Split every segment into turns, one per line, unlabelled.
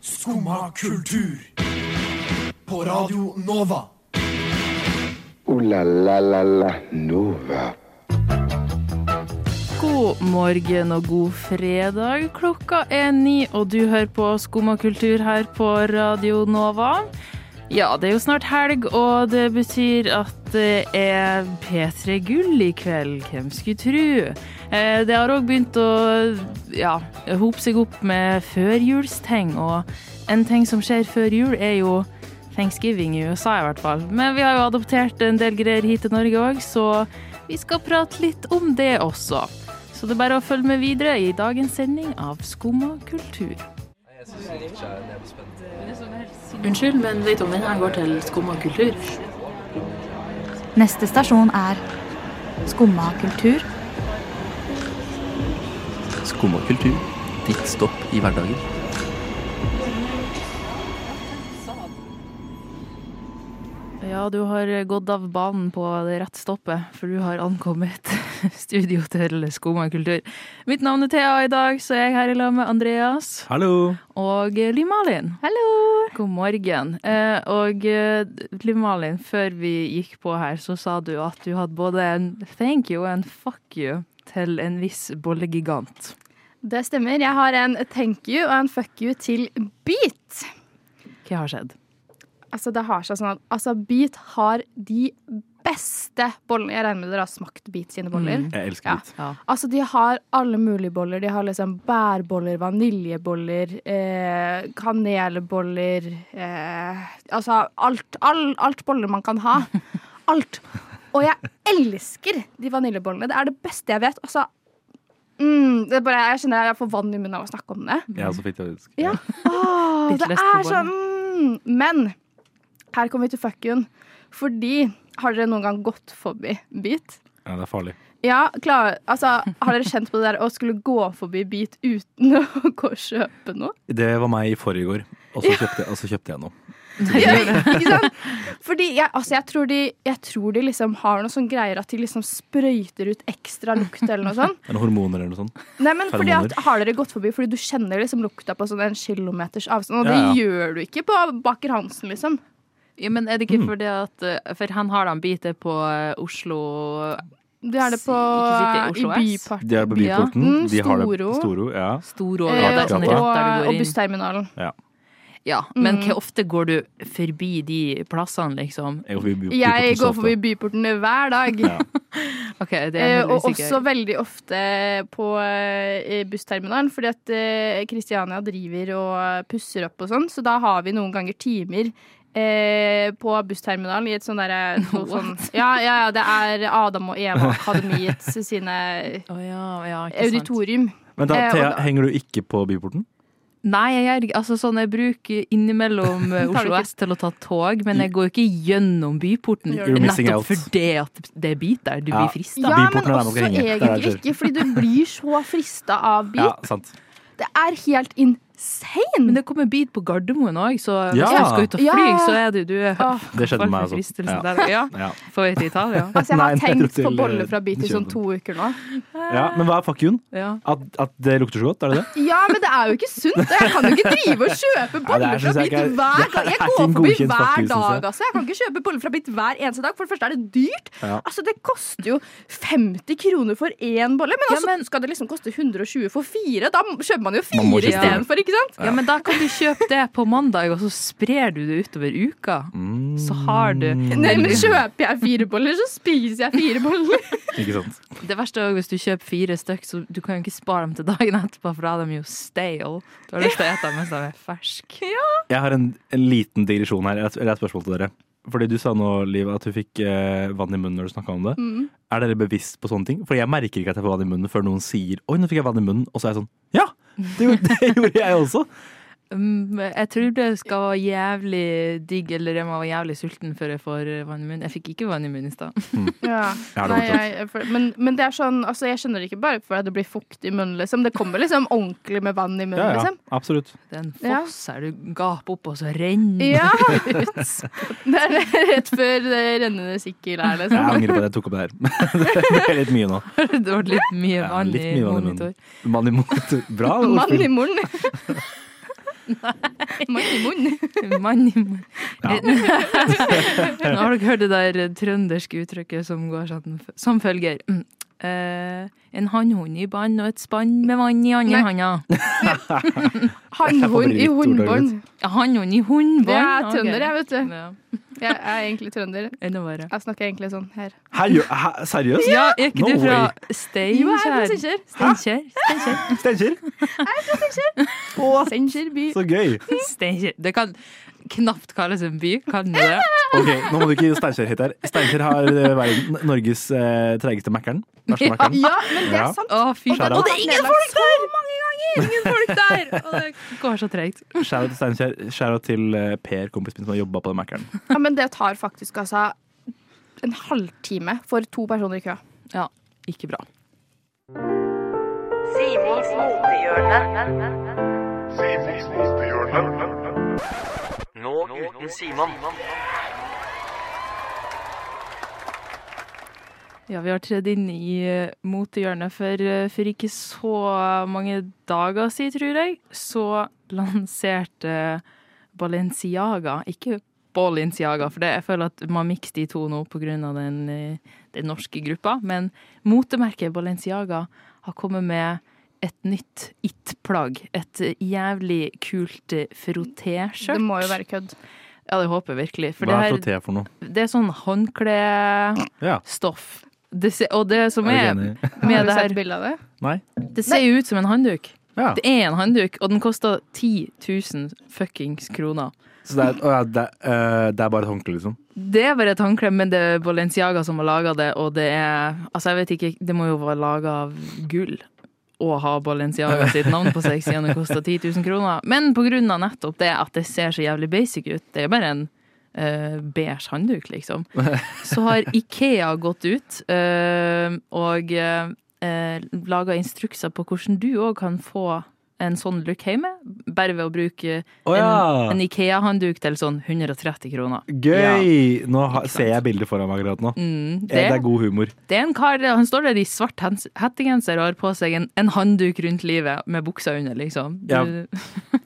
Skumma kultur. På Radio Nova.
Ooh la la la la Nova.
God morgen og god fredag. Klokka er ni, og du hører på Skum og kultur her på Radio Nova. Ja, det er jo snart helg, og det betyr at det er P3 Gull i kveld. Hvem skulle tru? Eh, Det har òg begynt å ja, hope seg opp med førjulsting, og en ting som skjer før jul, er jo thanksgiving i USA i hvert fall. Men vi har jo adoptert en del greier hit til Norge òg, så vi skal prate litt om det også. Så det er bare å følge med videre i dagens sending av Skumma kultur.
Unnskyld, men vedkommende her går til skum og kultur.
Neste stasjon er Skumma kultur.
Skum og kultur. Ditt stopp i hverdagen.
Ja, du har gått av banen på det rett stoppet, for du har ankommet studio til Skumma kultur. Mitt navn er Thea, og i dag så er jeg her i lag med Andreas.
Hallo!
og Liv-Malin. Hallo! God morgen. Eh, Og eh, Liv-Malin, før vi gikk på her, så sa du at du hadde både en thank you og en fuck you til en viss bollegigant.
Det stemmer. Jeg har en thank you og en fuck you til Beat.
Hva har skjedd?
Altså, det har seg sånn at altså, Beat har de beste bollene. Jeg regner med dere har smakt Beat sine boller.
Jeg elsker
Ja.
hvitt.
Altså, de har alle mulige boller. De har liksom bærboller, vaniljeboller, eh, kanelboller eh, Altså alt, all, alt boller man kan ha. Alt. Og jeg elsker de vaniljebollene. Det er det beste jeg vet. Altså, mm, det er bare, jeg kjenner jeg får vann i munnen av å snakke om det.
Jeg også fikk det. faktisk.
Ja. Åh,
Litt
det
løst på
er sånn mm, Men her kommer vi til fuck you-en. Fordi Har dere noen gang gått forbi Beat?
Ja, det er farlig.
Ja, klar, altså, Har dere kjent på det der å skulle gå forbi Beat uten å gå og kjøpe noe?
Det var meg i forrige år, og så kjøpte, og så kjøpte jeg noe.
Ja, ikke sant? Fordi jeg, altså, jeg, tror de, jeg tror de liksom har noe sånn greier at de liksom sprøyter ut ekstra lukt eller noe sånt.
Eller hormoner eller noe sånt.
Nei, men fordi at,
Feromoner.
Har dere gått forbi fordi du kjenner liksom lukta på sånn en kilometers avstand? Og det
Ja, ja.
gjør du ikke på Baker Hansen, liksom.
Ja, men er det ikke fordi at eh, For han har da en bit på eh, Oslo
Det er det på
Ikke sitte i
i
Oslo S.
Byparken.
De er på
Ja.
Byporten.
Mm,
de har det
Storo.
Storo. Ja.
Storå.
Eh,
Ja, det er sånn
Gata.
rett der du
og, Mm. og
går inn.
bussterminalen.
Ja, men hvor ofte går du forbi de plassene, liksom?
Jeg går forbi Byporten
Jeg
så
går
ofte.
forbi byportene hver dag.
Ja.
Ok, det er
Eh,
jeg
og
helt
også
usikker.
veldig ofte på eh, bussterminalen, fordi at eh, Kristiania driver og pusser opp og sånn, så da har vi noen ganger timer eh, på bussterminalen i et sånn derre noe sånn, ja, ja, ja, det er Adam og Eva Akademiets sine
Å ja, ja, ikke sant.
auditorium.
Men da,
Eh, og
Thea,
da-
henger du ikke på Byporten?
Nei, jeg gjør ikke altså, sånn, jeg bruker innimellom eh,
Tar
Oslo
du ikke- Mm.
S til å ta tog, men jeg går jo ikke gjennom byporten.
Gjør
du. You're missing
Nettopp
out.
fordi at det er bit der du
Ja.
blir frista.
Ja, men
Byporten er der man
også
skal henge. Det er der
egentlig
det
ikke, fordi du blir så frista av bil.
Ja, sant.
Det er helt insane!
Men det kommer bit på Gardermoen òg, så
Ja.
hvis du skal ut og
Ja.
fly, så er det du er
Åh.
Det skjedde meg også.
fristelsen
Ja.
der. Ja,
Ja.
på vei til Italia.
Altså, jeg har
Nei, nei,
tenkt
til,
på bolle
eh,
fra bit i sånn to uker nå.
ja, Men hva er fuck you-en?
Ja.
At, at det lukter så godt? Er det det?
Ja, men det er jo ikke sunt. Og jeg kan jo ikke drive og kjøpe
Nei, det
boller
er-
fra
synes jeg
bit
ikke er-
hver
det
gang. Jeg
er ikke
går
en
forbi
godkjent
hver
faktisk, synes jeg.
dag, altså. Jeg kan ikke kjøpe boller fra bit hver eneste dag. For det første er det dyrt.
Ja.
Altså, det koster jo 50 kroner for én bolle. Men,
Ja,
altså,
men-
skal det liksom koste 120 for fire? Da kjøper man jo
Man må ikke
fire
gjøre
istedenfor, ikke sant?
ja, men da kan du kjøpe det på mandag, og så sprer du det utover uka.
Mm.
Så har du
Nei, men kjøper jeg fire boller, så spiser jeg fire boller.
Ikke sant?
Det verste er jo hvis du kjøper fire stykk, så du kan jo ikke spare dem til dagen etterpå, for da er de jo stale. Du har lyst til å ete dem mens de er ferske.
Jeg har en, en liten digresjon her, eller et- eller et spørsmål til dere. Fordi du sa nå, Liv, at du fikk eh, vann i munnen når du snakka om det.
Mm.
Er dere bevisst på sånne ting? Fordi jeg merker ikke at jeg får vann i munnen før noen sier 'oi, nå fikk jeg vann i munnen', og så er jeg sånn 'ja, det, gjorde- det gjorde jeg også'.
Mm, Jeg tror det skal være jævlig digg, eller jeg må være jævlig sulten før jeg får eh, vann i munnen. Jeg fikk ikke vann i munnen i stad.
Ja.
Jeg har det
Nei,
fortsatt.
jeg, for, men, men det er sånn, altså, jeg skjønner det ikke bare for at det blir fukt i munnen. Liksom. Det kommer liksom ordentlig med vann i munnen.
Ja, ja,
Liksom.
absolutt.
Det er en
Ja.
foss her, du gaper opp, og så renner
Ja.
det ut.
Det er rett før det rennende sikkel
Jeg
er. Liksom.
angrer på det jeg tok opp det her. det er litt mye nå.
Det ble litt mye
Ja,
vann
litt
i
mye vann i
monitor.
munnen. Vann i monitor. Bra
Mann i
ordspill.
moren. Mann i munn.
Mann i munn. Nå har dere hørt det der trønderske uttrykket som går sånn, som følger. Mm. Eh, en hannhund i bånd og et spann med vann i andre
Nei.
handa.
Hannhund i hundbånd.
Ja, Hannhund i hundbånd.
Jeg er
ok.
trønder, jeg, vet du.
Ja,
Jeg er egentlig trønder.
Enda verre.
Jeg snakker egentlig sånn her.
Hæ, gjør- hæ, seriøst?
Ja, er ikke
No
du fra
way.
Jo, jeg er
Steinkjer?
fra Steinkjer.
Steinkjer. Steinkjer.
Steinkjer?
Steinkjer by.
Så gøy.
Steinkjer. Det kan knapt kalles en by, kan det det?
Ok, Nå må du ikke Steinkjer hit her. Steinkjer har eh, verden, Norges eh, treigeste Mækkern. Verste Mækkern.
Ah, Ja, men det
Ja.
er sant.
Å, fy
Shout
faen. Og
out.
det er ingen folk der! Ingen folk der! Og det går så tregt.
Shout out til Steinkjer. Shout out til eh, Per, kompisen min som har jobba på den Mækkern.
Ja, men det tar faktisk altså en halvtime for to personer i kø.
Ja, ikke bra.
Nå uten Simon.
Ja, vi har tredd inn i eh, motehjørnet for, eh, for ikke så mange dager siden, tror jeg, så lanserte Balenciaga, ikke Balenciaga, for det, jeg føler at man mikser de to nå på grunn av den, eh, den norske gruppa, men motemerket Balenciaga har kommet med et nytt it-plagg. Et eh, jævlig kult eh, frotté-skjørt.
Det må jo være kødd.
Ja, det håper jeg virkelig. For
Hva er
det, her,
frotté for noe?
det er sånn håndklestoff.
Ja.
Det ser, og det som
Er
er,
du ikke enig?
Har
med
du
det her
sett bilde av det?
Nei?
det ser jo ut som en handduk.
Ja.
Det er en handduk, og den koster 10 000 fuckings kroner.
Så det er, å ja, det, er, eh, det er bare et håndkle, liksom?
Det er bare et håndkle, men det er Balenciaga som har laga det, og det er Altså, jeg vet ikke, det må jo være laga av gull. Og ha Balenciaga sitt navn på seg siden det koster 10 000 kroner. Men på grunn av nettopp det at det ser så jævlig basic ut, det er bare en eh, beige handduk, liksom. Så har Ikea gått ut eh, og uh, laga instrukser på hvordan du òg kan få en sånn look hjemme, bare ved å bruke
Å
en, en Ikea-handduk til sånn 130 kroner.
Gøy! Nå ha, ser jeg bildet foran meg akkurat nå. Eh,
Mm,
Det, det er god humor.
det er en kar, han står der i svart hens- hettegenser og har på seg en, en handduk rundt livet med buksa under, liksom. Du,
Ja.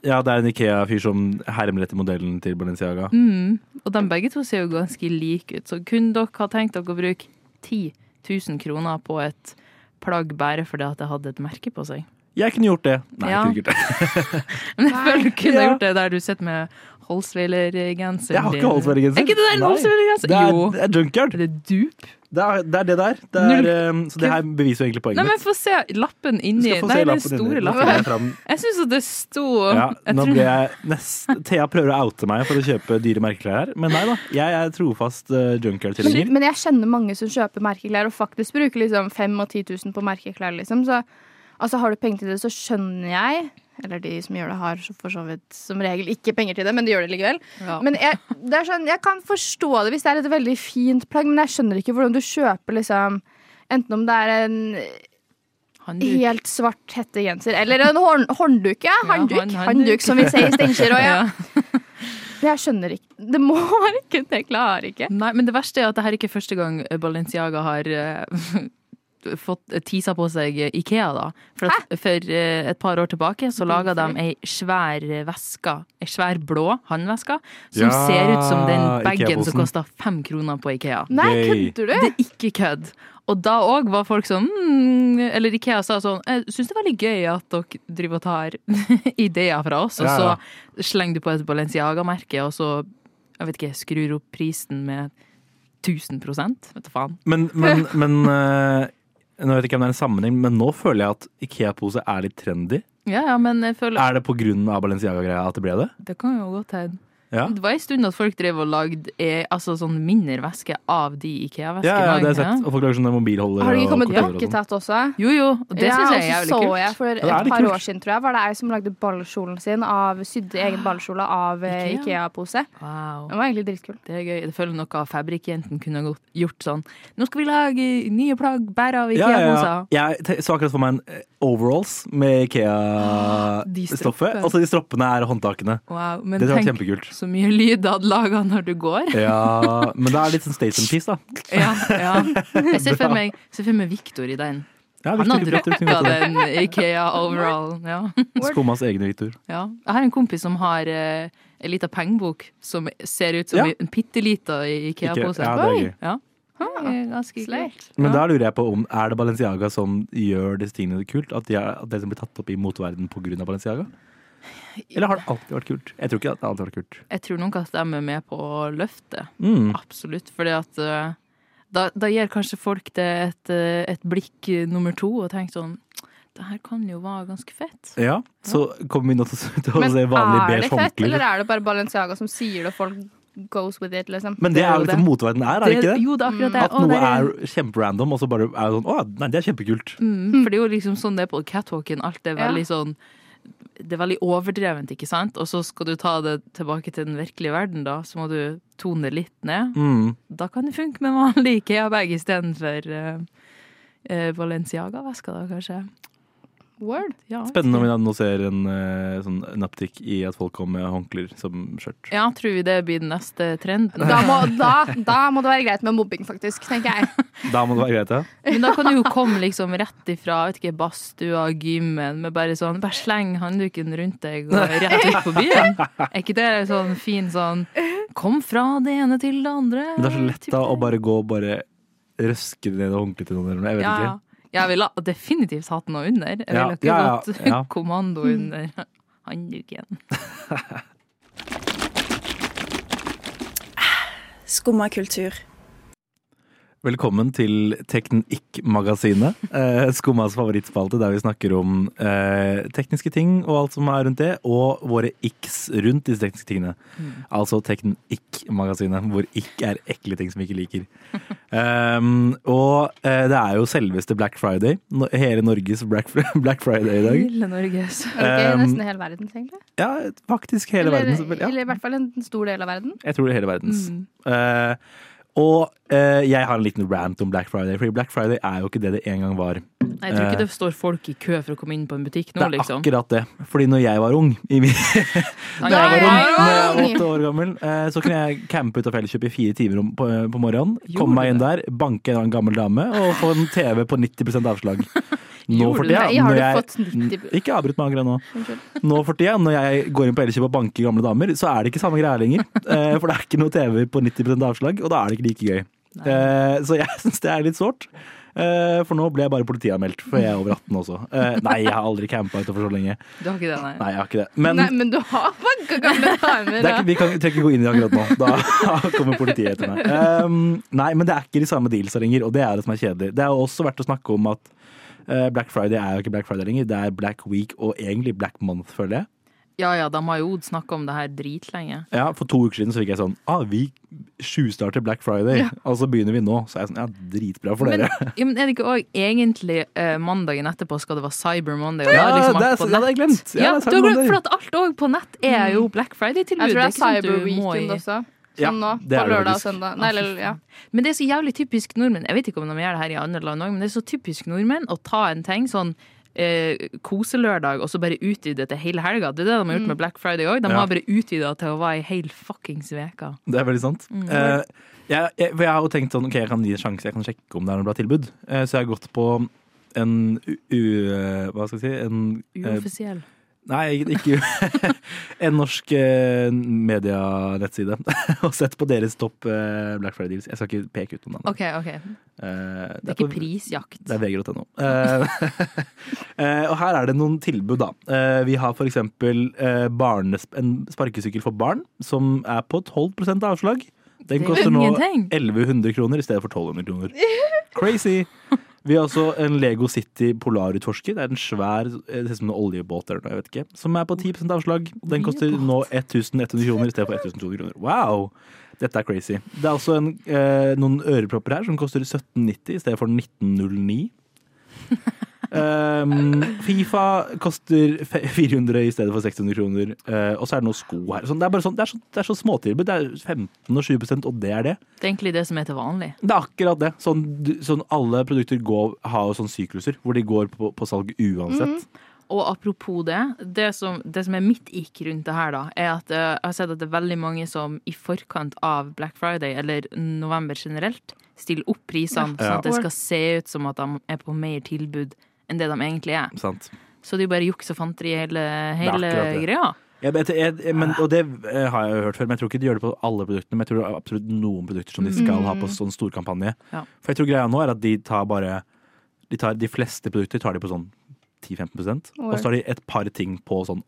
Ja, det er en Ikea-fyr som hermer etter modellen til Balenciaga.
mm, og de begge to ser jo ganske like ut, så kunne dere ha tenkt dere å bruke 10 000 kroner på et plagg bare fordi at det hadde et merke på seg?
Jeg kunne gjort det. Nei,
Ja.
jeg kunne ikke gjort det.
Men jeg føler du kunne
Ja.
gjort det der du sitter med Holsweiler-genser.
Jeg har ikke Holsberg-genser.
Er ikke det der en
Nei.
Holsweiler-genser?
Det er,
Jo.
det er junkyard.
Er det dup?
Det er det er det der. Det er, eh, så det her beviser jo egentlig poenget
Nei, men få se lappen
Du
inni.
skal få
Nei,
se
den
lappen din.
store
Nå finner jeg
lappen.
fram-
Jeg syns at det sto
Ja,
jeg
nå
tror-
ble jeg nest... Thea prøver å oute meg for å kjøpe dyre merkeklær her, men nei da. Jeg er trofast uh,
Men,
junkyard-tilhenger.
men jeg kjenner mange som kjøper merkeklær og faktisk bruker liksom 5 og 10 000 på merkeklær. Liksom. Så, altså, har du penger til det, så skjønner jeg Eller de som gjør det, har så- for så vidt som regel ikke penger til det, men de gjør det likevel.
Ja.
Men jeg, det er sånn, jeg kan forstå det hvis det er et veldig fint plagg, men jeg skjønner ikke hvordan du kjøper liksom Enten om det er en
Handduk.
helt svart hettegenser eller en hårn, håndduk. Ja, handduk,
hånd- håndduk.
handduk, som vi sier i Steinkjer òg. Ja.
Ja.
Jeg skjønner ikke. Det må være kun Jeg klarer ikke.
Nei, men det verste er at det her ikke er første gang Balenciaga har eh, fått tisa på seg Ikea, da. For, at, for eh, et par år tilbake så laga de ei svær eh, veske, ei svær blå håndveske, som
Ja,
ser ut som den bagen
Ikea-posen.
som kosta fem kroner på Ikea.
Nei,
Gøy.
kødder du?
Det er ikke kødd. Og da òg var folk sånn mm, Eller Ikea sa sånn Jeg syns det er veldig gøy at dere driver og tar ideer fra oss, og
Ja, ja.
så slenger du på et Balenciaga-merke, og så jeg vet ikke, skrur opp prisen med 1000 Vet du faen.
Men, men, men eh, Nå vet jeg ikke om det er en sammenheng, men nå føler jeg at Ikea-pose er litt trendy.
Ja ja, men jeg føler
Er det på grunn av Balenciaga-greia at det ble det?
Det kan jo godt hende.
Ja.
Det var en stund at folk drev og lagde eh, altså sånn mindre væske av de Ikea-væskene.
Ja, ja, det har jeg
Ja.
sett. Og folk lager sånne mobilholdere.
Har det ikke
og
kommet
kopper og sånn.
dokketatt også?
Jo jo, og det syns jeg er
ja, og
jævlig
så
kult.
så jeg for
det er
et
litt
par
kult.
år siden, tror jeg, var det ei som lagde ballkjolen sin av Sydde egen ballkjole av eh,
Ah, Ikea.
Ikea-pose.
Wow.
Den var egentlig dritkul.
Det er gøy. Jeg føler noe av Fabrikkjenten kunne godt gjort sånn. Nå skal vi lage nye plagg bare av
Ja, ja, ja.
Ikea-poser.
Jeg te- så akkurat for meg en eh, overalls med
Ah, de
Ikea-stoffet.
stroppene.
Altså de stroppene er håndtakene.
Wow, men
Det tror jeg er
tenk
kjempekult.
så mye lyd det hadde laga når du går.
Ja, men det er litt sånn States and Peace, da.
Ja, ja. Jeg ser for meg, ser for meg Victor i den.
Ja,
Han har
Victor, Victor, Victor,
droppa
Victor.
den Ikea-overallen. Ja.
Skummas egne Victor.
Ja. Jeg har en kompis som har eh, en liten pengebok som ser ut som
Ja.
en bitte liten Ikea-pose.
ja, det er gøy.
Ja. Hm, Det er Ganske
Slay.
kult.
Men
Ja.
da lurer jeg på om er det Balenciaga som gjør disse tingene kult? At, de er, at det som blir tatt opp i moteverden pga. Balenciaga? Eller har det alltid vært kult? Jeg tror ikke at det alltid har vært kult.
Jeg tror nok at de er med på å løfte.
Mm.
Absolutt. Fordi at eh, da, da gir kanskje folk det et, eh, et blikk eh, nummer to og tenker sånn Det her kan jo være ganske fett.
Ja, så kommer vi nå til å- til å
Men
se vanlige
er det
beige
fett, eller
håndklær.
er det bare Balenciaga som sier det, og folk goes with it, liksom?
Men det
Det er
er
jo
jo liksom moteverdenen er, er det ikke det?
Jo, det er akkurat det.
At
Å,
noe
der
er kjemperandom, og så bare er det sånn Å, nei, det er kjempekult.
Mm, for det er jo liksom sånn det er på catwalken. Alt er
Ja.
veldig sånn Det er veldig overdrevent, ikke sant? Og så skal du ta det tilbake til den virkelige verden, da. Så må du tone det litt ned.
Mm.
Da kan det funke med vanlig Ikea-bag istedenfor uh, Balenciaga-veska, da kanskje.
Word.
Ja,
Spennende om vi da nå ser en, eh, sånn, en uptick i at folk kommer med håndklær som skjørt.
Ja, tror vi det blir den neste trenden.
Da må, da, da må det være greit med mobbing, faktisk, tenker jeg.
Da må det være greit, ja.
Men da kan du jo komme liksom rett ifra vet ikke, badstua, gymmen, med bare sånn Bare sleng handduken rundt deg og rett ut på byen. Er ikke det sånn fin sånn Kom fra det ene til det andre.
Men det er så lett
type
da å
ting.
bare gå og bare røske ned og håndkle til noen eller noe. Jeg vet
ja,
ikke.
ja. Jeg ville definitivt hatt noe under. Jeg
Ja,
ville ikke
ja, ja,
gått
ja.
kommando under handduken.
Skumma kultur.
Velkommen til Teknikk-magasinet. Eh, Skummas favorittspalte der vi snakker om eh, tekniske ting og alt som er rundt det, og våre iks rundt disse tekniske tingene. Altså Teknikk-magasinet, hvor ikk er ekle ting som vi ikke liker. Um, og eh, det er jo selveste Black Friday. No- Hele Norges Black, Black Friday i dag.
Lille Norges.
Er det ikke
Um,
nesten hele verden, egentlig?
Ja, faktisk hele
eller,
verden. som- Ja.
eller i hvert fall en stor del av verden.
Jeg tror det er hele verdens.
Mm.
Eh, og eh, jeg har en liten rant om Black Friday, Fordi Black Friday er jo ikke det det en gang var.
Nei, Jeg tror ikke det står folk i kø for å komme inn på en butikk nå,
Eh. det er
liksom.
akkurat det. Fordi når jeg var ung, i min,
Nei,
da jeg var ung,
nei,
når jeg var
ung!
åtte år gammel, eh, så kunne jeg campe ut av Felleskjøp i fire timer om, på, eh, på morgenen.
Gjorde
komme meg inn
du
der, banke en annen gammel dame og få en TV på 90 avslag. Nå
Gjorde
for
du
tida,
Nei, har
når
du
jeg-
fått 90
Ikke avbryt meg akkurat nå. Nå for tida, når jeg går inn på Elkjøp og banker gamle damer, så er det ikke samme greia lenger. Eh, For det er ikke noe TV på 90 avslag, og da er det ikke like gøy. Eh, Så jeg syns det er litt sårt. Eh, For nå ble jeg bare politianmeldt, for jeg er over 18 også. Eh, Nei, jeg har aldri campa utenfor så lenge.
Du har ikke det, nei.
Nei, jeg har ikke det. Men
Nei, men du har mange gamle damer.
det er ikke, vi kan, trenger ikke gå inn i det akkurat nå. Da kommer politiet etter meg. Ehm, nei, men det er ikke de samme dealsa lenger, og det er det som er kjedelig. Det er jo også verdt å snakke om at eh, Black Friday er jo ikke Black Friday lenger. Det er Black Week og egentlig Black Month, føler jeg.
Ja ja, de har jo snakka om det her dritlenge.
Ja, For to uker siden så fikk jeg sånn ah, Vi tjuvstarter Black Friday, og så begynner vi nå. Så er jeg sånn Ja, dritbra for
Men,
dere.
ja, men er det ikke òg egentlig eh, mandagen etterpå skal det være Cyber Monday? Og
Ja,
da er liksom
det
alt
er-
på
ja, det har jeg
nett.
glemt. Ja, det er
du
Cyber
har glemt,
Monday. Mm.
for at alt òg på nett er jo Black Friday-tilbud.
Jeg tror det er
ikke sant
cyber
du må
weekend
i-
også.
Ja,
Som nå,
det er
på
det
lørdag og
faktisk.
søndag. Nei, eller, ja.
Men det er så jævlig typisk nordmenn. Jeg vet ikke om de gjør det her i andre land òg, men det er så typisk nordmenn å ta en ting sånn eh, koselørdag og så bare utvide til hele helga. Det er det de har
Mm.
gjort med Black Friday òg. De
Ja.
har bare utvida til å være i hele fuckings veka.
Det er veldig sant.
Mm.
Eh, jeg, jeg, for jeg har jo tenkt sånn, ok, jeg kan gi en sjanse, jeg kan sjekke om det er noe bra tilbud. Eh, så jeg har gått på en u... u- hva skal jeg si? En, eh,
Uoffisiell.
Nei, ikke En norsk eh, medianettside. og sett på deres topp eh, Black Friday deals. Jeg skal ikke peke ut noen navn.
OK, OK. Det
Eh,
er ikke
på-
prisjakt.
Det er vg.no. Eh, eh, og her er det noen tilbud, da. Eh, vi har f.eks. Uh, en sparkesykkel for barn, som er på 12 avslag.
Det
Den
er
koster nå
ingenting.
1100 kroner i stedet for 1200 kroner. Crazy! Vi har også en Lego City Polarutforsker. Det er en svær eh, det ser ut som en oljebåt eller noe, jeg vet ikke. Som er på 10 avslag. Den koster nå 1100 kroner i stedet for 1200 kroner. Wow! Dette er crazy. Det er også en, eh, noen ørepropper her som koster 1790 i stedet for 1909. Um, Fifa koster fe- 400 i stedet for 600 kroner. Eh, og så er det noen sko her. Sånn, det er bare sånn, det er så, det er så småtilbud. Det er 15 og 20 og det er det.
Det er egentlig det som er til vanlig.
Det er akkurat det. Sånn, du- sånn alle produkter går, har jo sånne sykluser hvor de går på, på salg uansett.
Og apropos det, det som, det som er mitt ikk rundt det her, da, er at eh, jeg har sett at det er veldig mange som i forkant av Black Friday, eller november generelt, stille opp prisene,
Ja.
sånn at det skal se ut som at de er på mer tilbud enn det de egentlig er.
Sant.
Så det er jo bare juks og fanteri i hele,
er
hele
akkurat det.
greia.
Jeg, vet- jeg, jeg- men, og det eh, har jeg jo hørt før, men jeg tror ikke de gjør det på alle produktene. Men jeg tror det er absolutt noen produkter som de skal ha på sånn storkampanje.
Ja.
For jeg tror greia nå er at de tar bare De, tar, de fleste produkter tar de på sånn 10-15 Og så tar de et par ting på sånn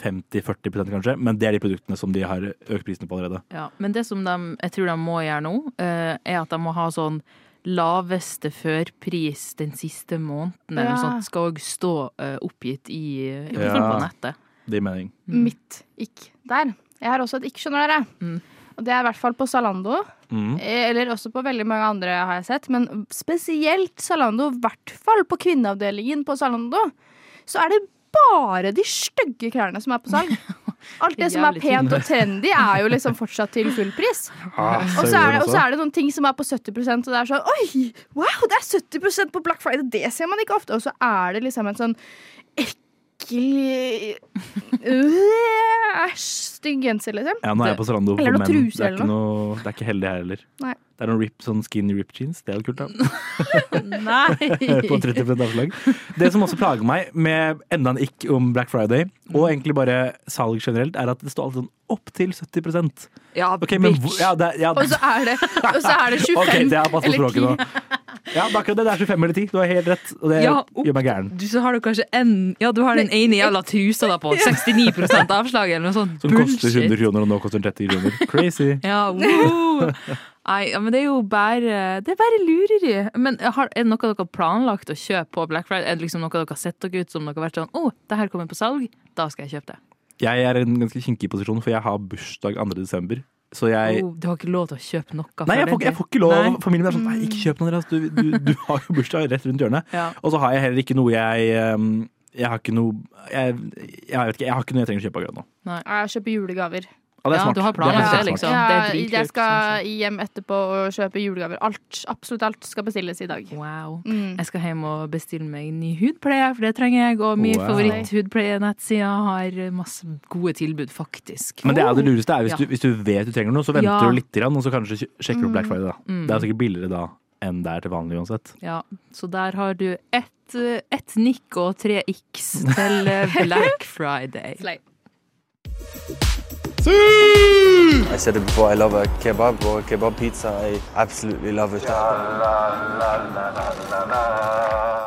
50-40 kanskje, men det er de produktene som de har økt prisene på allerede.
Ja, men det som de, jeg tror de må gjøre nå, eh, er at de må ha sånn laveste førpris den siste måneden, eller noe
Ja.
sånt, skal også stå eh, oppgitt i, i hvert fall
Ja.
på nettet.
Det gir mening.
Mitt ikk der. Jeg har også et ikk, skjønner dere.
Mm.
Og det er i hvert fall på Zalando.
Mm.
eh, Eller også på veldig mange andre, har jeg sett. Men spesielt Zalando, i hvert fall på kvinneavdelingen på Zalando, så er det bare de stygge klærne som er på salg. Alt det som er
Jævlig
pent og trendy, er jo liksom fortsatt til full pris. Og så er, det,
sånn.
og så er det noen ting som er på 70 og det er sånn Oi! Wow, det er 70 på Black Friday! Det ser man ikke ofte. Og så er det liksom en sånn ekkel øh, Æsj! Stygg genser, liksom.
Ja, nå er jeg på Zalando for
Eller
menn.
noe truse
Det er
eller
ikke, noe, det er ikke heldig her heller.
Nei.
Det er noen rip, sånn skinny rip jeans. Det er jo kult, da. på
Nei!
30 avslag. Det som også plager meg med enda en ikk om Black Friday, og egentlig bare salg generelt, er at det står alltid sånn opptil 70
Ja,
Ok, men
bitch.
hvor- ja, det, er- ja,
Og så er det, og så er det 25
Ok, det er pass på
eller
språket nå. Ja, det er akkurat det. Det er 25 eller 10. Du har helt rett. Og det
Ja, opp-
gjør meg gæren.
Du, så har du kanskje en Ja, du har den ene jævla trusa da på 69 avslag, eller noe sånt.
Som koster 100 kroner, og nå koster den 30 kroner. Crazy.
Ja, wow. Nei, ja, men det er jo bare Det er bare lureri. Men har, er det noe dere har planlagt å kjøpe på Black Friday? Er det liksom noe dere har sett dere ut som dere har vært sånn Å, det her kommer på salg, da skal jeg kjøpe det.
Jeg er i en ganske kinkig posisjon, for jeg har bursdag 2. desember. Så jeg
oh, du har ikke lov til å kjøpe noe
Nei, jeg
før
får, ikke- jeg
det.
får ikke lov.
Nei.
Familien min er sånn Nei, ikke kjøp noe, Andreas. Du, du, du har jo bursdag rett rundt hjørnet.
Ja.
Og så har jeg heller ikke noe jeg um, Jeg har ikke noe jeg, jeg vet ikke, jeg har ikke noe jeg trenger å kjøpe akkurat nå.
Nei, Jeg kjøper julegaver.
Og det er
Ja,
smart.
du har
er
planlagt
faktisk
det, liksom.
smart.
det er
Ja,
dritkult,
jeg skal hjem etterpå og kjøpe julegaver. Alt, absolutt alt skal bestilles i dag.
Wow.
Mm.
Jeg skal hjem og bestille meg en ny hudpleie, for det trenger jeg. Og min
Wow.
favoritt-hudpleie-nettside har masse gode tilbud, faktisk.
Men det er det lureste er hvis,
Oh, Ja.
du, hvis du vet du trenger noe, så venter
Ja. Mm.
du litt, grann, og så kanskje kj- sjekker du opp Black Friday. da. Det er sikkert billigere da enn det er til vanlig uansett.
Ja, så der har du ett et nikk og tre x til eh, Black Friday.
Slay.
I said it before, I love a kebab or a kebab pizza. I absolutely love it.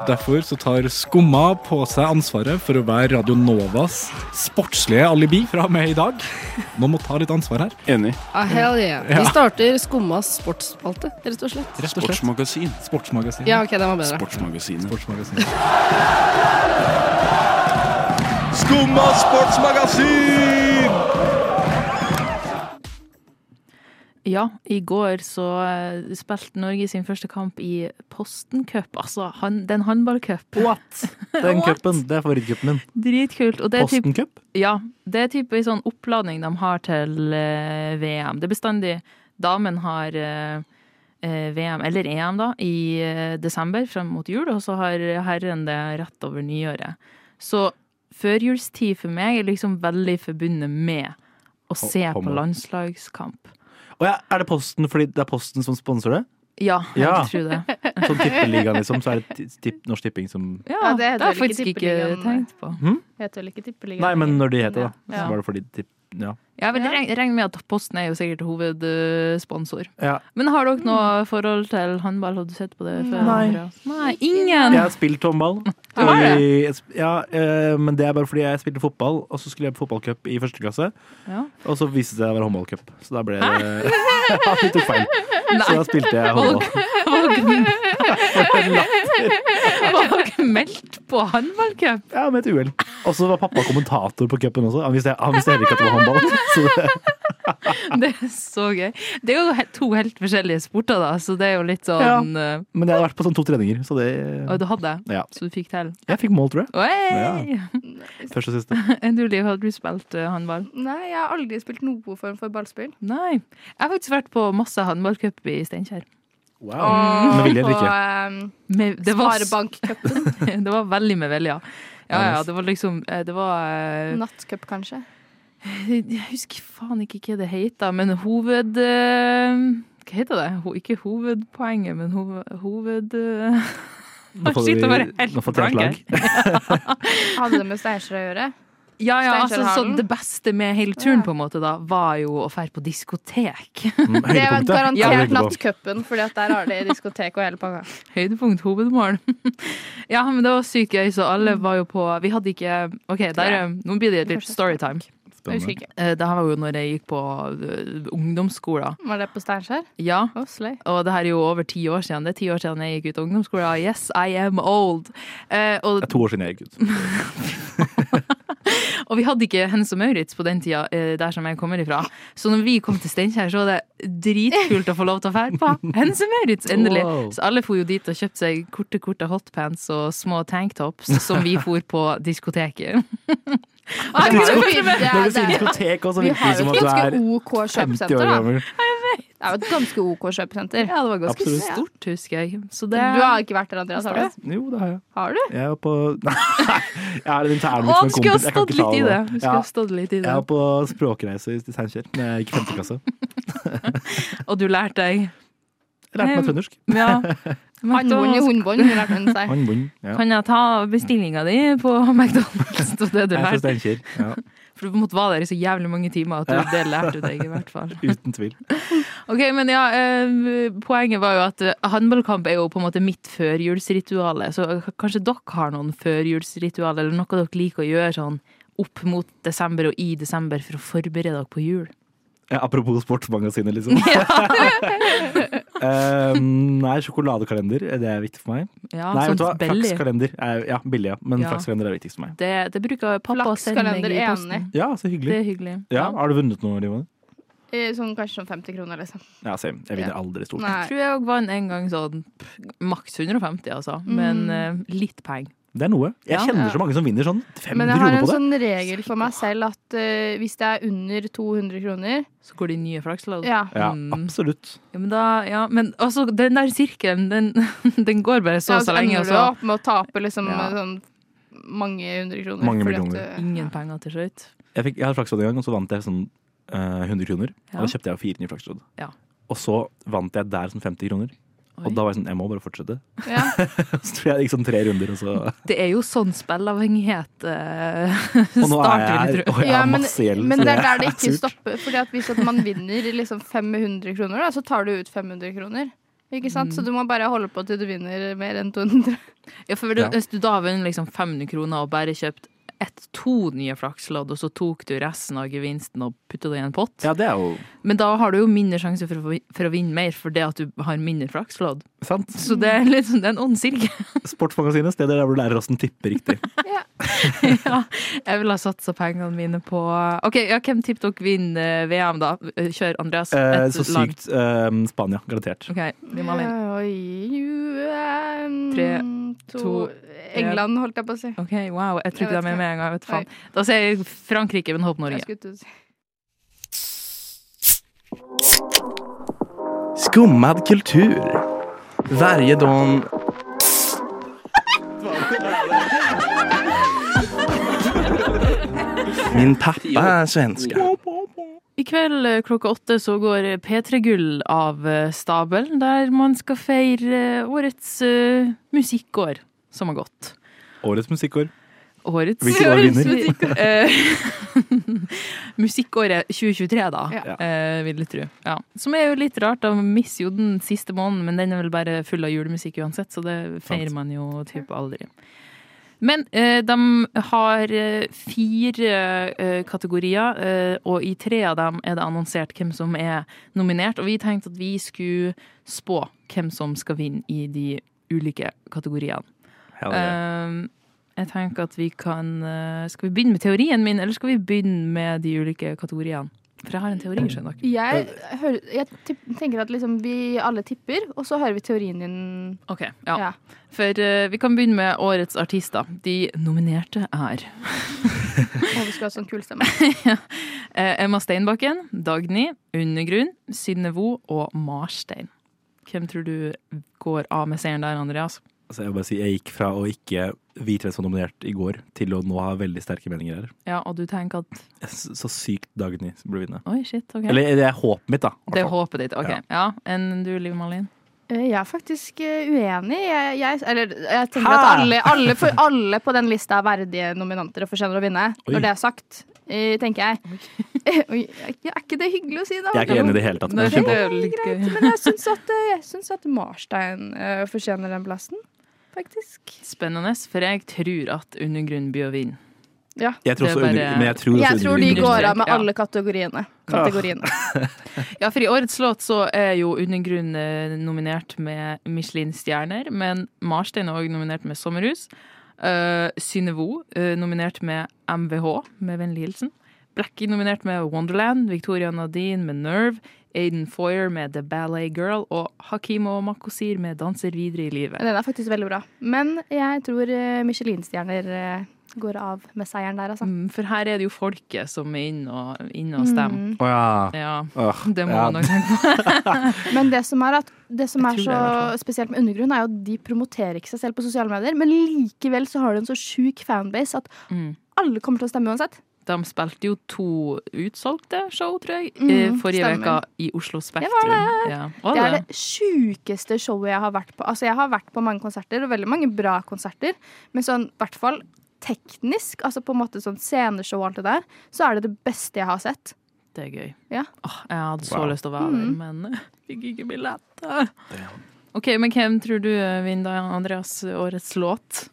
Derfor så tar Skumma på seg ansvaret for å være Radio Novas sportslige alibi fra og med i dag. Noen må ta litt ansvar her.
Enig.
Ah, hell yeah. Vi starter Skummas sportsspalte, rett og slett.
Rett og slett.
Sportsmagasin.
Sportsmagasin.
Ja, OK, den var bedre.
Sportsmagasinet.
Sportsmagasin.
Skumma sportsmagasin!
Ja, i går så eh, spilte Norge sin første kamp i Posten Cup, altså han, den håndballcup.
What? Den cupen. Det er favorittcupen min.
Dritkult. Og det er typ,
Posten Cup.
ja, det er typ en sånn oppladning de har til eh, VM. Det er bestandig damen har eh, eh, VM, eller EM da, i eh, desember frem mot jul, og så har herren det rett over nyåret. Så førjulstid for meg er liksom veldig forbundet med å se på
håndball.
landslagskamp.
Og ja, er det Posten fordi det er Posten som sponser det?
Ja, jeg
Ja.
tror det.
Sånn tippeligaen, liksom. Så er det ti- tipp, Norsk Tipping som
Ja,
Ja, det
det,
heter
har jeg
vel ikke
faktisk ikke
Tippeligaen.
tenkt på.
Heter vel ikke tippeligaen?
Nei, men når de heter det, da.
Ja.
Så var det fordi tipp... Ja.
Ja, men
Ja.
regn- Regn med at Posten er jo sikkert hovedsponsor.
Ja.
Men har dere noe forhold til håndball? Har du sett på det før?
Nei.
Andreas? Nei, ingen!
Jeg har spilt håndball.
Har du
I- jeg sp- Ja, eh, men det er bare fordi jeg spilte fotball, og så skulle jeg på fotballcup i første klasse.
Ja.
Og så viste det seg å være håndballcup, så da ble det Ja, vi tok feil. Så da spilte jeg håndball.
Har dere meldt på håndballcup?
Ja, med et uhell. Og så var pappa kommentator på cupen også. Han visste, han visste heller ikke at det var håndball. Så
Det
det,
er så gøy. Det er jo he- to helt forskjellige sporter, da, så det er jo litt sånn eh,
men jeg hadde vært på sånn to treninger, så det
Og du hadde, det,
Ja.
så du fikk til.
Jeg fikk mål, tror jeg.
Oi!
Første og siste.
Du, Liv, hadde du spilt eh, håndball?
Nei, jeg har aldri spilt noe form for ballspill.
Nei. Jeg har faktisk vært på masse håndballcup i Steinkjer.
Men vilje eller ikke?
På
Med- Det
um,
var,
Sparebankcupen.
det var veldig med vilje. Ja, ja, det var liksom eh, Det var eh,
Nattcup, kanskje.
Jeg husker faen ikke hva det heter, men hoved... eh, Hva heter det? Ho ikke hovedpoenget, men hoved... hoved eh,
Nå får vi-
Shit, jeg bare helt
nå får jeg et
blank her.
Hadde det med Steinkjer å gjøre?
Ja, ja, altså, så
Steinkjerhallen.
det beste med hele turen på en måte da, var jo å fære på diskotek.
Mm,
Det var garantert
Ja.
nattcupen, for der har de diskotek og hele pakka.
Høydepunkt, hovedmål. ja, men det var sykt gøy, så alle var jo på Vi hadde ikke OK, der, eh,
Ja.
nå blir det litt storytime.
Jeg husker ikke.
Eh, Det her var jo når jeg gikk på eh, ungdomsskolen.
Var det på Steinkjer?
Ja,
Å, slay.
og det her er jo over ti år siden. Det er ti år siden jeg gikk ut av ungdomsskolen. Yes, I am old. Eh, og,
Det er to år siden jeg gikk ut.
og vi hadde ikke Hennes og Maurits på den tida, eh, der som jeg kommer ifra. Så når vi kom til Steinkjer, så var det dritkult å få lov til å fære på Hennes og Maurits, endelig.
Wow.
Så alle for jo dit og kjøpte seg korte, korte hotpants og små tanktops som vi for på diskoteket.
Ah,
det var jo
diskotek.
veldig bra.
Når du sier
diskotek også,
Vi
virker det
har
som
jo
at du
et ganske
er
OK
50
kjøpesenter,
år
da.
gammel.
Det er jo et ganske OK kjøpesenter.
Ja, det var ganske
Absolutt.
stort, husker jeg. Så
Du
det
har ikke vært der, Andreas, har du?
Jo, det har jeg.
Har du?
Jeg er på Nei, jeg er litt intern
Å,
med en
du skulle ha
kompis. Jeg kan
stått
ikke ta
litt i det.
nå.
Du skulle ha stått litt i
Jeg var
det.
på språkreise til Steinkjer da jeg gikk i femte klasse.
Og du lærte deg
Jeg lærte meg trøndersk.
Ja.
Håndbånd i håndbånd, hun lærte hun seg.
Håndbånd, ja.
Kan jeg ta bestillinga di på McDonald's? Det var det du
Jeg er fra
lærte.
Steinkjer. Ja.
For du måtte være der i så jævlig mange timer at du,
Ja.
det lærte du deg i hvert fall.
Uten tvil.
Ok, men ja, eh, Poenget var jo at eh, håndballkamp er jo på en måte mitt førjulsritualet. Så k- kanskje dere har noen førjulsritual, eller noe dere liker å gjøre sånn opp mot desember og i desember for å forberede dere på jul?
Ja, Eh, apropos sportsmagasinet, liksom. Eh, nei, sjokoladekalender eh, det er viktig for meg.
Ja,
nei,
sånn
vet du hva?
billig.
Flakskalender er ja, billig, ja. men
Ja.
flakskalender er viktigst for meg.
Det, det bruker pappa å sende meg i
Flakskalender
posten.
enig.
Ja, så hyggelig.
Det er hyggelig.
Ja, Har du vunnet noe, Livan?
Eh, Sånn kanskje sånn 50 kroner, liksom.
Ja, same. Jeg vinner
Ja.
aldri stort.
Jeg tror jeg òg vant en gang sånn pff, maks 150, altså. Men
Mm.
eh, litt penger.
Det er noe.
Ja.
Jeg kjenner
Ja.
så mange som vinner sånn 500
Men jeg har
kroner
en
på det.
sånn regel for meg selv at eh, hvis det er under 200 kroner
Så går de nye flakslodd.
Ja.
Ja,
Mm.
absolutt.
Ja, men da, ja, men altså, den der sirkelen, den, den går bare så
Ja,
og så lenge, altså.
ender
og
du
så
opp med å tape liksom
Ja.
sånn mange hundre kroner.
Mange
fordi at
millioner.
du-
Ingen penger til slutt.
Jeg, fikk, jeg hadde flakslodd en gang, og så vant jeg sånn eh, 100 kroner.
Ja.
Og da kjøpte jeg fire nye flakslodd.
Ja.
Og så vant jeg der sånn 50 kroner.
Oi.
Og da var jeg sånn, jeg må bare fortsette.
Ja.
så tror jeg det gikk sånn tre runder, og så
Det er jo sånn spillavhengighet eh,
Og nå er
starter,
jeg,
vil jeg
og
tro.
jeg
Ja,
har
men,
masse gjeld.
men
så
det er der det
er
ikke
surt.
stopper. Fordi at Hvis at man vinner liksom 500 kroner, da, så tar du ut 500 kroner. Ikke sant?
Mm.
Så du må bare holde på til du vinner mer enn 200.
Ja, for
Ja.
Hvis du da har vunnet liksom 500 kroner og bare kjøpt ett, to nye flakslodd, og så tok du resten av gevinsten og putta det i en pott
Ja, det er jo
Men da har du jo mindre sjanse for, å få- for å vinne mer fordi at du har mindre flakslodd.
Sant.
Så det er litt sånn, det er en ond sirkel.
Sportsmagasinet, stedet der du lærer hvordan tippe riktig.
Jeg ville ha satsa pengene mine på OK, ja, hvem tipper dere vinner eh, VM, da? Eh, Kjør, Andreas.
Eh,
Et
så
lag.
sykt eh, Spania, garantert.
OK, vi må vinne.
Tre,
Tre, to,
England, holdt jeg på å si.
OK, wow. Jeg tror
Jeg
ikke de er med
vet ikke.
med en gang. jeg Vet faen.
Oi.
Da sier jeg Frankrike, men håper
Jeg
Norge.
skulle til å si.
Skummad kultur. Varje dag Min pappa är svenska.
I kveld eh, klokka åtte så går eh, P3 Gull av eh, stabelen, der man skal feire eh, årets eh, musikkår som har gått.
Årets musikkår.
Årets
Hvilket år
Årets
vinner?
musikkår. Eh, Musikkåret 2023, da,
Ja.
eh, vil jeg tro. Ja. Som er jo litt rart, da. Man Mister jo den siste måneden, men den er vel bare full av julemusikk uansett, så det feirer man jo typ aldri. Men eh, de har eh, fire eh, kategorier, eh, og i tre av dem er det annonsert hvem som er nominert. Og vi tenkte at vi skulle spå hvem som skal vinne i de ulike kategoriene.
Hell yeah.
Eh, jeg tenker at vi kan eh, Skal vi begynne med teorien min, eller skal vi begynne med de ulike kategoriene? For jeg har en teori, skjønner dere.
Jeg, hører, jeg tipp- tenker at liksom vi alle tipper, og så hører vi teorien din.
Ok, ja. For eh, vi kan begynne med årets artister. De nominerte er
Og vi skal ha sånn kul stemme.
eh, Emma Steinbakken, Dagny, Undergrunn, Synnevo og Marstein. Hvem tror du går av med seieren der, Andreas?
Altså, jeg vil bare si, jeg gikk fra å ikke vi tre som nominert i går, til å nå ha veldig sterke meninger her.
Ja, og du tenker at
Jeg s- Så sykt Dagny burde vinne.
Oi, shit. OK.
Eller det er håpet mitt, da.
det er håpet ditt. OK.
Ja.
Ja. Enn du, Liv Malin?
Eh, Jeg er faktisk eh, uenig. Jeg, jeg, eller, jeg tenker
Hæ?
at alle, alle, for, alle på den lista er verdige nominanter og fortjener å vinne.
Oi.
Når det er sagt, eh, tenker jeg. Eh, Oi, er ikke- er ikke det hyggelig å si, da?
Jeg er ikke enig i det hele tatt, men
Nei,
kjør på.
det er litt greit, Men jeg syns at, eh, jeg syns at Marstein eh, fortjener den plassen, faktisk.
Spennende, for jeg tror at Undergrunn blir å vinne.
Ja.
Jeg tror
Det er
også
bare-
under, men jeg tror, også
de
underliggende-
går av med
Ja.
alle kategoriene. kategoriene.
Ah.
Ja, for i årets låt så er jo Undergrunn eh, nominert med Michelin-stjerner, men Marstein er òg nominert med Sommerhus. Uh, Synevo eh, nominert med MVH, med vennlig hilsen. Blackie nominert med Wonderland, Victoria Nadine med Nerve, Aiden Foyer med The Ballet Girl og Hakim og Makosir med Danser videre i livet.
Den er faktisk veldig bra. Men jeg tror eh, Michelin-stjerner eh, går av med seieren der, altså.
Mm, For her er det jo folket som er inne og, inn og stemmer.
Mm.
Å ja.
Ja,
Åh,
det må
ja.
man nok tenke på.
Men det som er, at, det som er
tror det,
så
i hvert
spesielt med undergrunn, er jo at de promoterer ikke seg selv på sosiale medier, men likevel så har de en så sjuk fanbase at
Mm.
alle kommer til å stemme uansett.
De spilte jo to utsolgte show, tror jeg,
Mm,
eh, forrige
stemmer.
uke i Oslo Spektrum.
var det.
Ja.
Det er det sjukeste showet jeg har vært på. Altså, jeg har vært på mange konserter, og veldig mange bra konserter, men sånn, i hvert fall teknisk, altså på en måte sånn sceneshow og alt det der, så er det det beste jeg har sett.
Det er gøy.
Ja.
Åh, jeg hadde så
Wow.
lyst til å være der,
Mm.
men eh, fikk ikke billetter. OK, men hvem tror du eh, vinner da, Andreas, årets låt?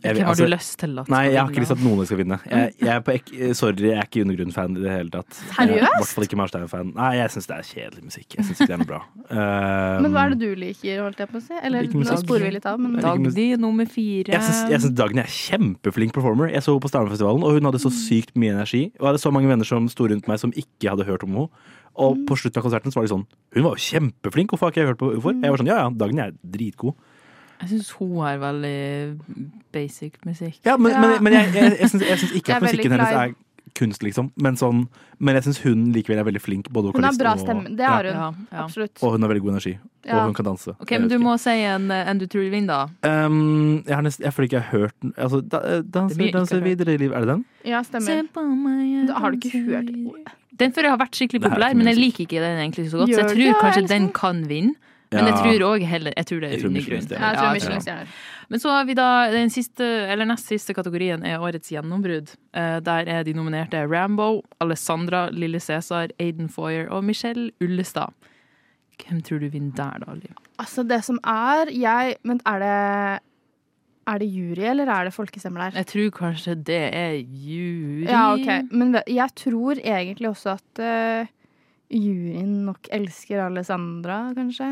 Jeg
Hvem
vet-
har du
altså-
lyst til at
Nei,
skal
jeg har ikke
vinne?
lyst til at noen skal vinne. Jeg, jeg er på ek Sorry, jeg er ikke undergrunn-fan i det hele tatt. Jeg er I
Seriøst?
hvert fall ikke Marstein-fan. Nei, jeg syns det er kjedelig musikk. Jeg syns ikke det er noe bra. Um,
Men hva er det du liker, holdt jeg på å si? Eller
Liker
nå
musikk.
sporer vi litt av, men
Dag-
Dagny nummer fire.
Jeg syns- Jeg syns Dagny er kjempeflink performer. Jeg så henne på Stjernefestivalen, og hun hadde
Mm.
så sykt mye energi. Og jeg hadde så mange venner som sto rundt meg som ikke hadde hørt om henne.
Mm.
Og på slutten av konserten så var de sånn Hun var jo kjempeflink, hvorfor har ikke jeg hørt på henne? før?» Jeg var sånn, ja ja, Dagny er dritgod.
Jeg syns hun har veldig basic musikk.
Ja, men, men, men jeg, jeg, jeg syns- jeg syns ikke
Jeg
at
er veldig
musikken hennes
glad i-
er kunst, liksom. Men, sånn, men jeg syns hun likevel er veldig flink. Både
Hun har
vokalist
bra
og-
stemme, det har hun.
Ja, ja.
Absolutt.
Og hun har veldig god energi.
Ja.
Og hun kan danse.
OK, men du må si en, en du tror vinner, da.
Um, jeg, har nesten, jeg føler ikke jeg har hørt den altså, da, eh,
Det er
Danser,
mye jeg ikke
danser
har hørt.
videre i livet. Er det den?
Ja, stemmer. Da har du ikke hørt
Den før jeg har vært skikkelig
Det her er
populær,
ikke
men
min
jeg liker ikke den egentlig så godt. Så jeg
Gjør du det?
tror kanskje
Jeg
den kan vinne. Men jeg
Ja.
tror òg heller Jeg tror det
Jeg
er
tror
undergrunn.
Michelin-stjerner.
Jeg tror
Ja, jeg tror det.
Michelin-stjerner.
Men så har vi da den siste, eller nest siste kategorien er årets gjennombrudd. Eh, Der er de nominerte Rambo, Alessandra, Lille Cæsar, Aiden Foyer og Michelle Ullestad. Hvem tror du vinner der, da, Liv?
Altså, det som er Jeg Vent, er det Er det jury, eller er det folkestemmer der?
Jeg tror kanskje det er jury.
Ja, OK. Men ve- jeg tror egentlig også at eh, juryen nok elsker Alessandra, kanskje.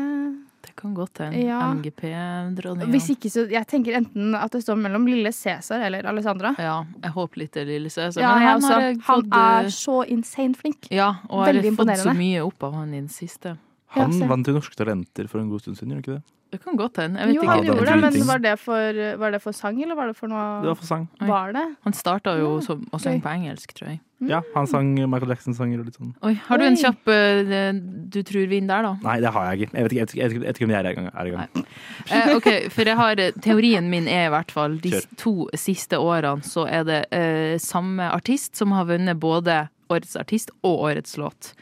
Det kan godt hende.
Ja.
MGP-dronninga.
Hvis ikke, så Jeg tenker enten at det står mellom lille Cæsar eller Alessandra.
Ja, jeg håper litt det er Lille Cæsar.
Ja,
men han
jeg
har
også.
jeg
Han
fått, eh,
er så insane flink.
Ja, og har
Veldig
fått så
imponerende.
mye opp av han i det siste.
Han
Ja, se.
vant jo Norske Talenter for en god stund siden, gjorde han ikke det?
Det kan godt hende. Jeg vet
Jo, han
ikke.
det
gjorde
var
det, men
driting.
var det, for, var det for sang, eller var det for noe
Det var for sang.
Var det?
Han starta jo som, å synge
gøy.
på engelsk, tror jeg.
Ja, han sang Michael Jackson-sanger og litt sånn.
Oi, har du en
Oi.
kjapp eh, det- du tror vinner der, da?
Nei, det har jeg ikke. Jeg vet ikke, jeg vet ikke, jeg vet ikke, jeg vet ikke om jeg er i gang. Er i gang.
Eh, ok, for jeg har, Teorien min er i hvert fall de
Kjør.
to siste årene så er det eh, samme artist som har vunnet både årets artist og årets låt.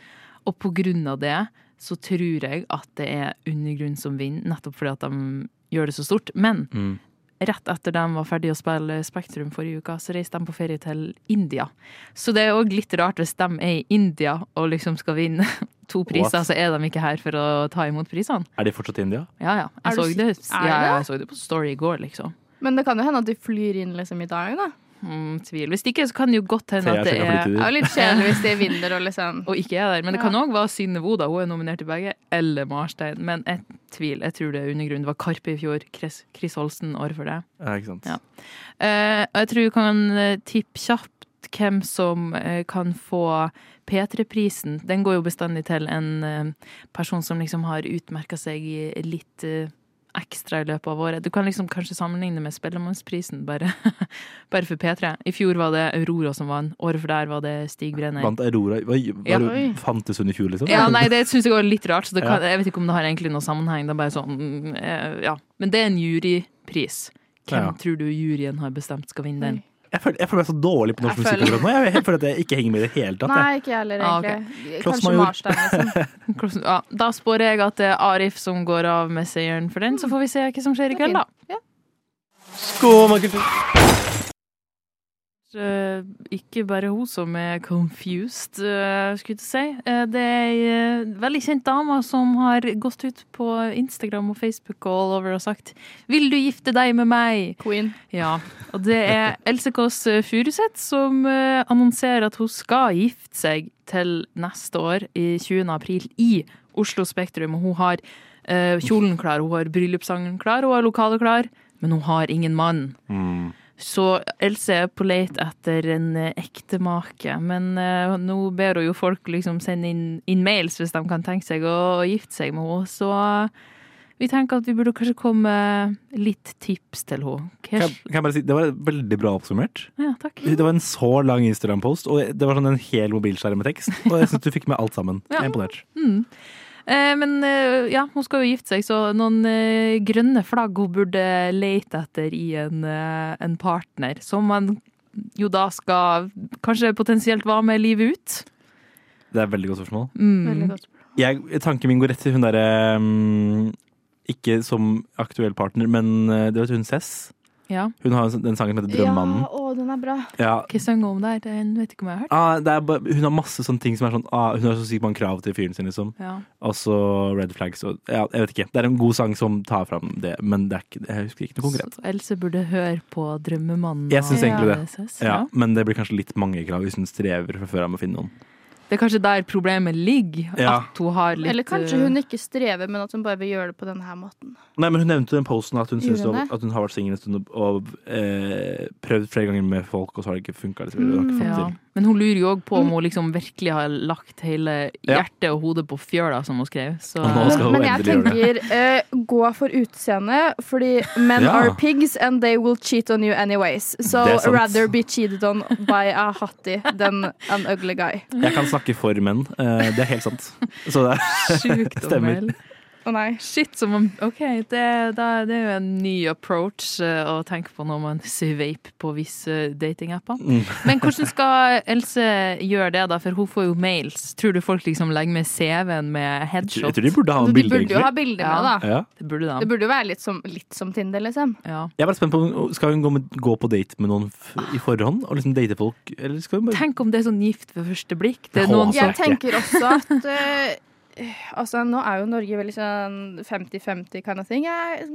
Og på grunn av det så tror jeg at det er Undergrunn som vinner, nettopp fordi at de gjør det så stort. Men
Mm.
rett etter de var ferdige å spille Spektrum forrige uka, så reiste de på ferie til India. Så det er òg litt rart hvis de er i India og liksom skal vinne to priser,
What?
så er de ikke her for å ta imot prisene.
Er de fortsatt i India?
Ja, ja. Jeg,
Er du
så
sik-
det.
Er
ja, jeg
det?
så det på Story i går, liksom.
Men det kan jo hende at de flyr inn liksom i dag, da.
Mm, tvil. Hvis ikke, så kan det jo godt hende
Thea
at det
skal flytte
er
dit.
Det er jo litt kjedelig hvis de vinner og liksom
og ikke er der. Men det
Ja.
kan òg være Synne Woe, da. Hun er nominert til begge. Eller Marstein. Men jeg tviler. Jeg tror det er undergrunn. Det var Karpe i fjor. Chris, Chris Holsten året før det.
Ja, ikke sant.
Ja. Eh, og jeg tror vi kan eh, tippe kjapt hvem som eh, kan få P3-prisen. Den går jo bestandig til en eh, person som liksom har utmerka seg i litt eh, ekstra i løpet av året. Du kan liksom kanskje sammenligne med Spellemannsprisen, bare, bare for P3. I fjor var det Aurora som vant, året for der var det Stig Brenner.
Vant Aurora Hva,
Ja.
var, Fantes hun i fjor, liksom?
Ja, nei, det syns jeg var litt rart. Så det kan,
Ja.
Jeg vet ikke om det har egentlig noen sammenheng. Det er bare sånn, mm, eh, ja. Men det er en jurypris. Hvem
Ja.
tror du juryen har bestemt skal vinne den?
Jeg føler, jeg føler meg så dårlig på norsk
Jeg føler-
musikk akkurat nå. Jeg, jeg føler at jeg ikke henger med i det hele tatt.
Nei,
jeg.
ikke jeg heller,
Ah, ok.
egentlig.
Kloss
Kanskje
major.
Marstein, liksom.
Hvordan- Ja, da spår jeg at det er Arif som går av med seieren for den, så får vi se hva som skjer i kveld, da. Eh, Ikke bare hun som er confused, eh, skulle jeg til å si. Eh, Det er ei eh, veldig kjent dame som har gått ut på Instagram og Facebook og all over og sagt 'Vil du gifte deg med meg?'
Queen.
Ja. Og det er Else Kåss Furuseth som eh, annonserer at hun skal gifte seg til neste år, i 20. april, i Oslo Spektrum. Og hun har eh, kjolen klar, hun har bryllupssangen klar, hun har lokalet klar, men hun har ingen mann. Så Else er på leit etter en eh, ektemake, men eh, nå ber hun jo folk liksom sende inn, inn mails hvis de kan tenke seg å gifte seg med henne. Så eh, vi tenker at vi burde kanskje komme med litt tips til henne.
Kan,
Hva-
jeg- kan jeg bare si, det var veldig bra oppsummert.
Ja, takk.
Det var en så lang Instagram-post, og det var sånn en hel mobilskjerm med tekst. Og jeg syns du fikk med alt sammen. Jeg er imponert.
Mm. Eh, Men eh, ja, hun skal jo gifte seg, så noen eh, grønne flagg hun burde lete etter i en, eh, en partner, som man jo da skal kanskje potensielt være med livet ut.
Det er et veldig godt spørsmål.
Mm.
Veldig godt.
Jeg, tanken min går rett til hun derre mm, Ikke som aktuell partner, men eh, du vet hun Cess?
Ja.
Hun har jo en sånn- den sangen som heter 'Drømmemannen'.
Ja, å, den er bra.
Ja.
Hva synger hun om der? Den vet ikke om jeg har hørt.
Ah, det er bare, hun har masse sånne ting som er sånn ah, Hun har så sykt mange krav til fyren sin, liksom.
Ja.
Og så Red Flags og ja, Jeg vet ikke. Det er en god sang som tar fram det, men det er ikke, jeg husker ikke noe konkret.
Så Else burde høre på 'Drømmemannen'.
Jeg syns
av
egentlig det.
LSS,
Ja,
Ja.
men det blir kanskje litt mange krav hvis hun strever fra før av med å finne noen.
Det er kanskje der problemet ligger.
Ja.
At hun har litt eh,
Eller kanskje hun ikke strever, men at hun bare vil gjøre det på denne her måten.
Nei, men Hun nevnte i den posten at hun, synes
Gjorde hun
at hun har vært singel en stund og, og eh, prøvd flere ganger med folk, og så har det ikke funka.
Mm, ja. Men hun lurer jo òg på om hun liksom virkelig har lagt hele
Ja.
hjertet og hodet på fjøla, som hun skrev. Så
Og nå skal hun
Men jeg
endelig gjøre det.
tenker eh, gå for utseende, fordi men
Ja.
are pigs and they will cheat on you anyways. So
Det er sant.
rather be cheated on by a hottie than an ugly guy.
Jeg kan snakke for menn. Eh, det er helt sant. Så det er-
Sjukt om
stemmer.
vel.
Å nei.
Shit, som om OK, det, da- det er jo en ny approach eh, å tenke på når man sveip på visse datingapper.
Mm.
Men hvordan skal Else gjøre det, da? For hun får jo mails. Tror du folk liksom legger med CV-en med
Jeg tror- jeg
headshot?
tror de burde ha
Så
noen
de
bilder,
burde jo ha
egentlig.
bilder
Ja.
med, da.
Ja.
Det burde da.
Det burde jo være litt som, litt som Tinder, liksom.
Ja.
Jeg er bare spent på om- Skal hun gå, med, gå på date med noen f i forhånd, og liksom date folk? Eller skal hun bare
Tenk om det er sånn gift ved første blikk. Det er
Jeg
noen som
håper
Jeg
Altså, ikke.
tenker også at eh, Altså, nå er jo Norge veldig sånn 50-50 kind of thing. Jeg,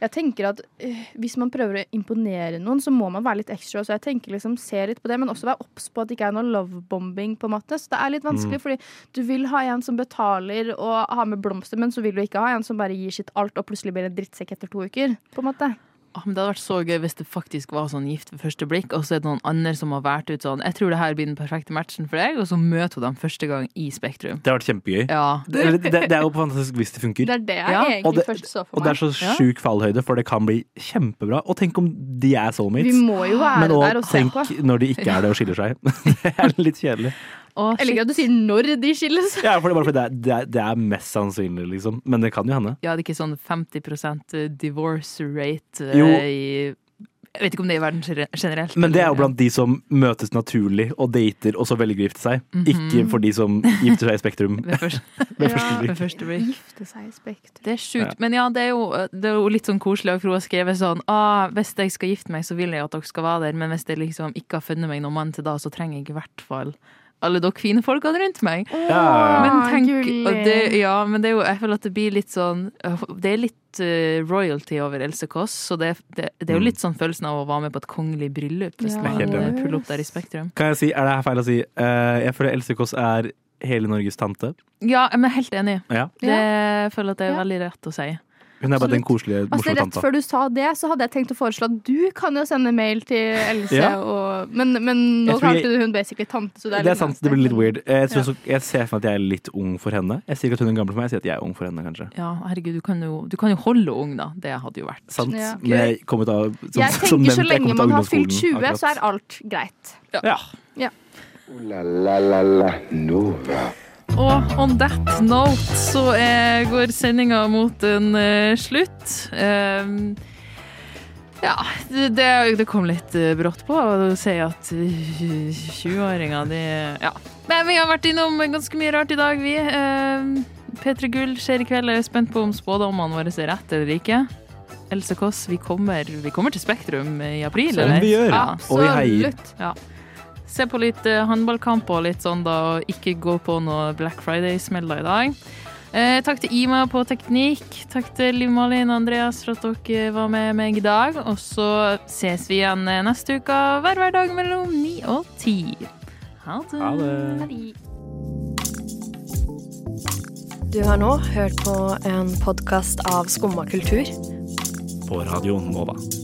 jeg tenker at eh, hvis man prøver å imponere noen, så må man være litt ekstra. Så jeg tenker liksom se litt på det, men også være obs på at det ikke er noe lovebombing, på en måte. Så det er litt vanskelig,
Mm.
fordi du vil ha en som betaler og har med blomster, men så vil du ikke ha en som bare gir sitt alt og plutselig blir en drittsekk etter to uker, på en måte.
Ah, men Det hadde vært så gøy hvis det faktisk var sånn gift ved første blikk, og så er det noen andre som har valgt ut sånn 'Jeg tror det her blir den perfekte matchen for deg', og så møter hun dem første gang i Spektrum.
Det har vært kjempegøy.
Ja.
Det, eller det, det er jo fantastisk hvis det funker.
Det er det jeg
Ja, og
egentlig
det-
først så for
Og det
meg.
er så sjuk fallhøyde, for det kan bli kjempebra. Og tenk om de er
Vi
soulmates.
må jo være
Men
der
òg
og se
tenk
på.
når de ikke er det og skiller seg. det er litt kjedelig.
Å,
Jeg liker
shit.
at du sier når de skilles.
Ja, for det, er bare fordi det, er, det, er, det er mest sannsynlig, liksom. Men det kan jo hende.
Ja, det er ikke sånn 50 divorce rate eh,
Jo.
i Jeg vet ikke om det er i verden gener- generelt.
Men det er jo
eller-
blant de som møtes naturlig og dater, og så velger å gifte seg.
Mhm.
Ikke for de som gifter seg i Spektrum.
ved første,
ved første
ved
blikk.
første blikk.
Gifte seg i Spektrum.
Det er sjukt.
Ja.
Men ja, det er, jo, det er jo litt sånn koselig, for hun har skrevet sånn ah, Hvis jeg skal gifte meg, så vil jeg at dere skal være der, men hvis jeg liksom ikke har funnet meg noen mann til da, så trenger jeg i hvert fall alle dere fine folkene rundt meg.
Ja,
Men
Ah,
tenk
gullig.
og det, Ja, men det er jo Jeg føler at det blir litt sånn Det er litt eh, royalty over Else Kåss, så det, det, det er jo
Mm.
litt sånn følelsen av å være med på et kongelig bryllup, hvis
Ja.
Jeg er helt
man
enig.
puller opp der i Spektrum.
Kan jeg si, er det her feil å si? Eh, jeg føler Else Kåss er hele Norges tante.
Ja, men jeg er helt enig.
Ja.
Det jeg føler jeg at det er
Ja.
veldig rett å si.
Hun er bare den
Absolutt.
koselige,
Altså,
morsomme
rett
tanta.
før du sa det, så hadde jeg tenkt å foreslå at du kan jo sende mail til Else.
Ja.
Og, men, men nå
Jeg tror jeg-
kalte du hun basically tante, så det er,
Det er
litt
sant,
vanskelig.
det blir litt weird. Eh, Jeg, tror også, jeg ser for meg at jeg er litt ung for henne. Jeg sier ikke at hun er gammel for meg, jeg sier at jeg er ung for henne, kanskje.
Ja, herregud, du kan jo, du kan jo holde henne ung, da. Det hadde jo vært
Sant?
Ja.
Men jeg kom ut av som,
Jeg tenker
som nevnt, jeg
så
kom
lenge
ut av
man har fylt 20,
ungdomsskolen
så
akkurat.
er alt greit.
ja.
Ooh la la la la Nova.
Og on that note så eh, går sendinga mot en eh, slutt. Eh, Ehm, Ja, det, det- det kom litt eh, brått på å si at eh, 20-åringer, de Ja. Men vi har vært innom ganske mye rart i dag, vi. Eh, P3 Gull skjer i kveld. Jeg er spent på om spådommene våre er rett eller ikke. Else Kåss, vi kommer, vi kommer til Spektrum i april,
Som vi gjør. Og vi heier.
Absolutt. Ja. Se på litt eh, håndballkamp og litt sånn, da, og ikke gå på noe Black Friday-smeller i dag. Eh, takk til Ima på teknikk. Takk til Liv Malin og Andreas for at dere var med meg i dag. Og så ses vi igjen eh, neste uke hver hverdag mellom ni og ti. Ha det.
Ha det.
Du har nå hørt på en podkast av Skumma kultur.
På Radio Nova.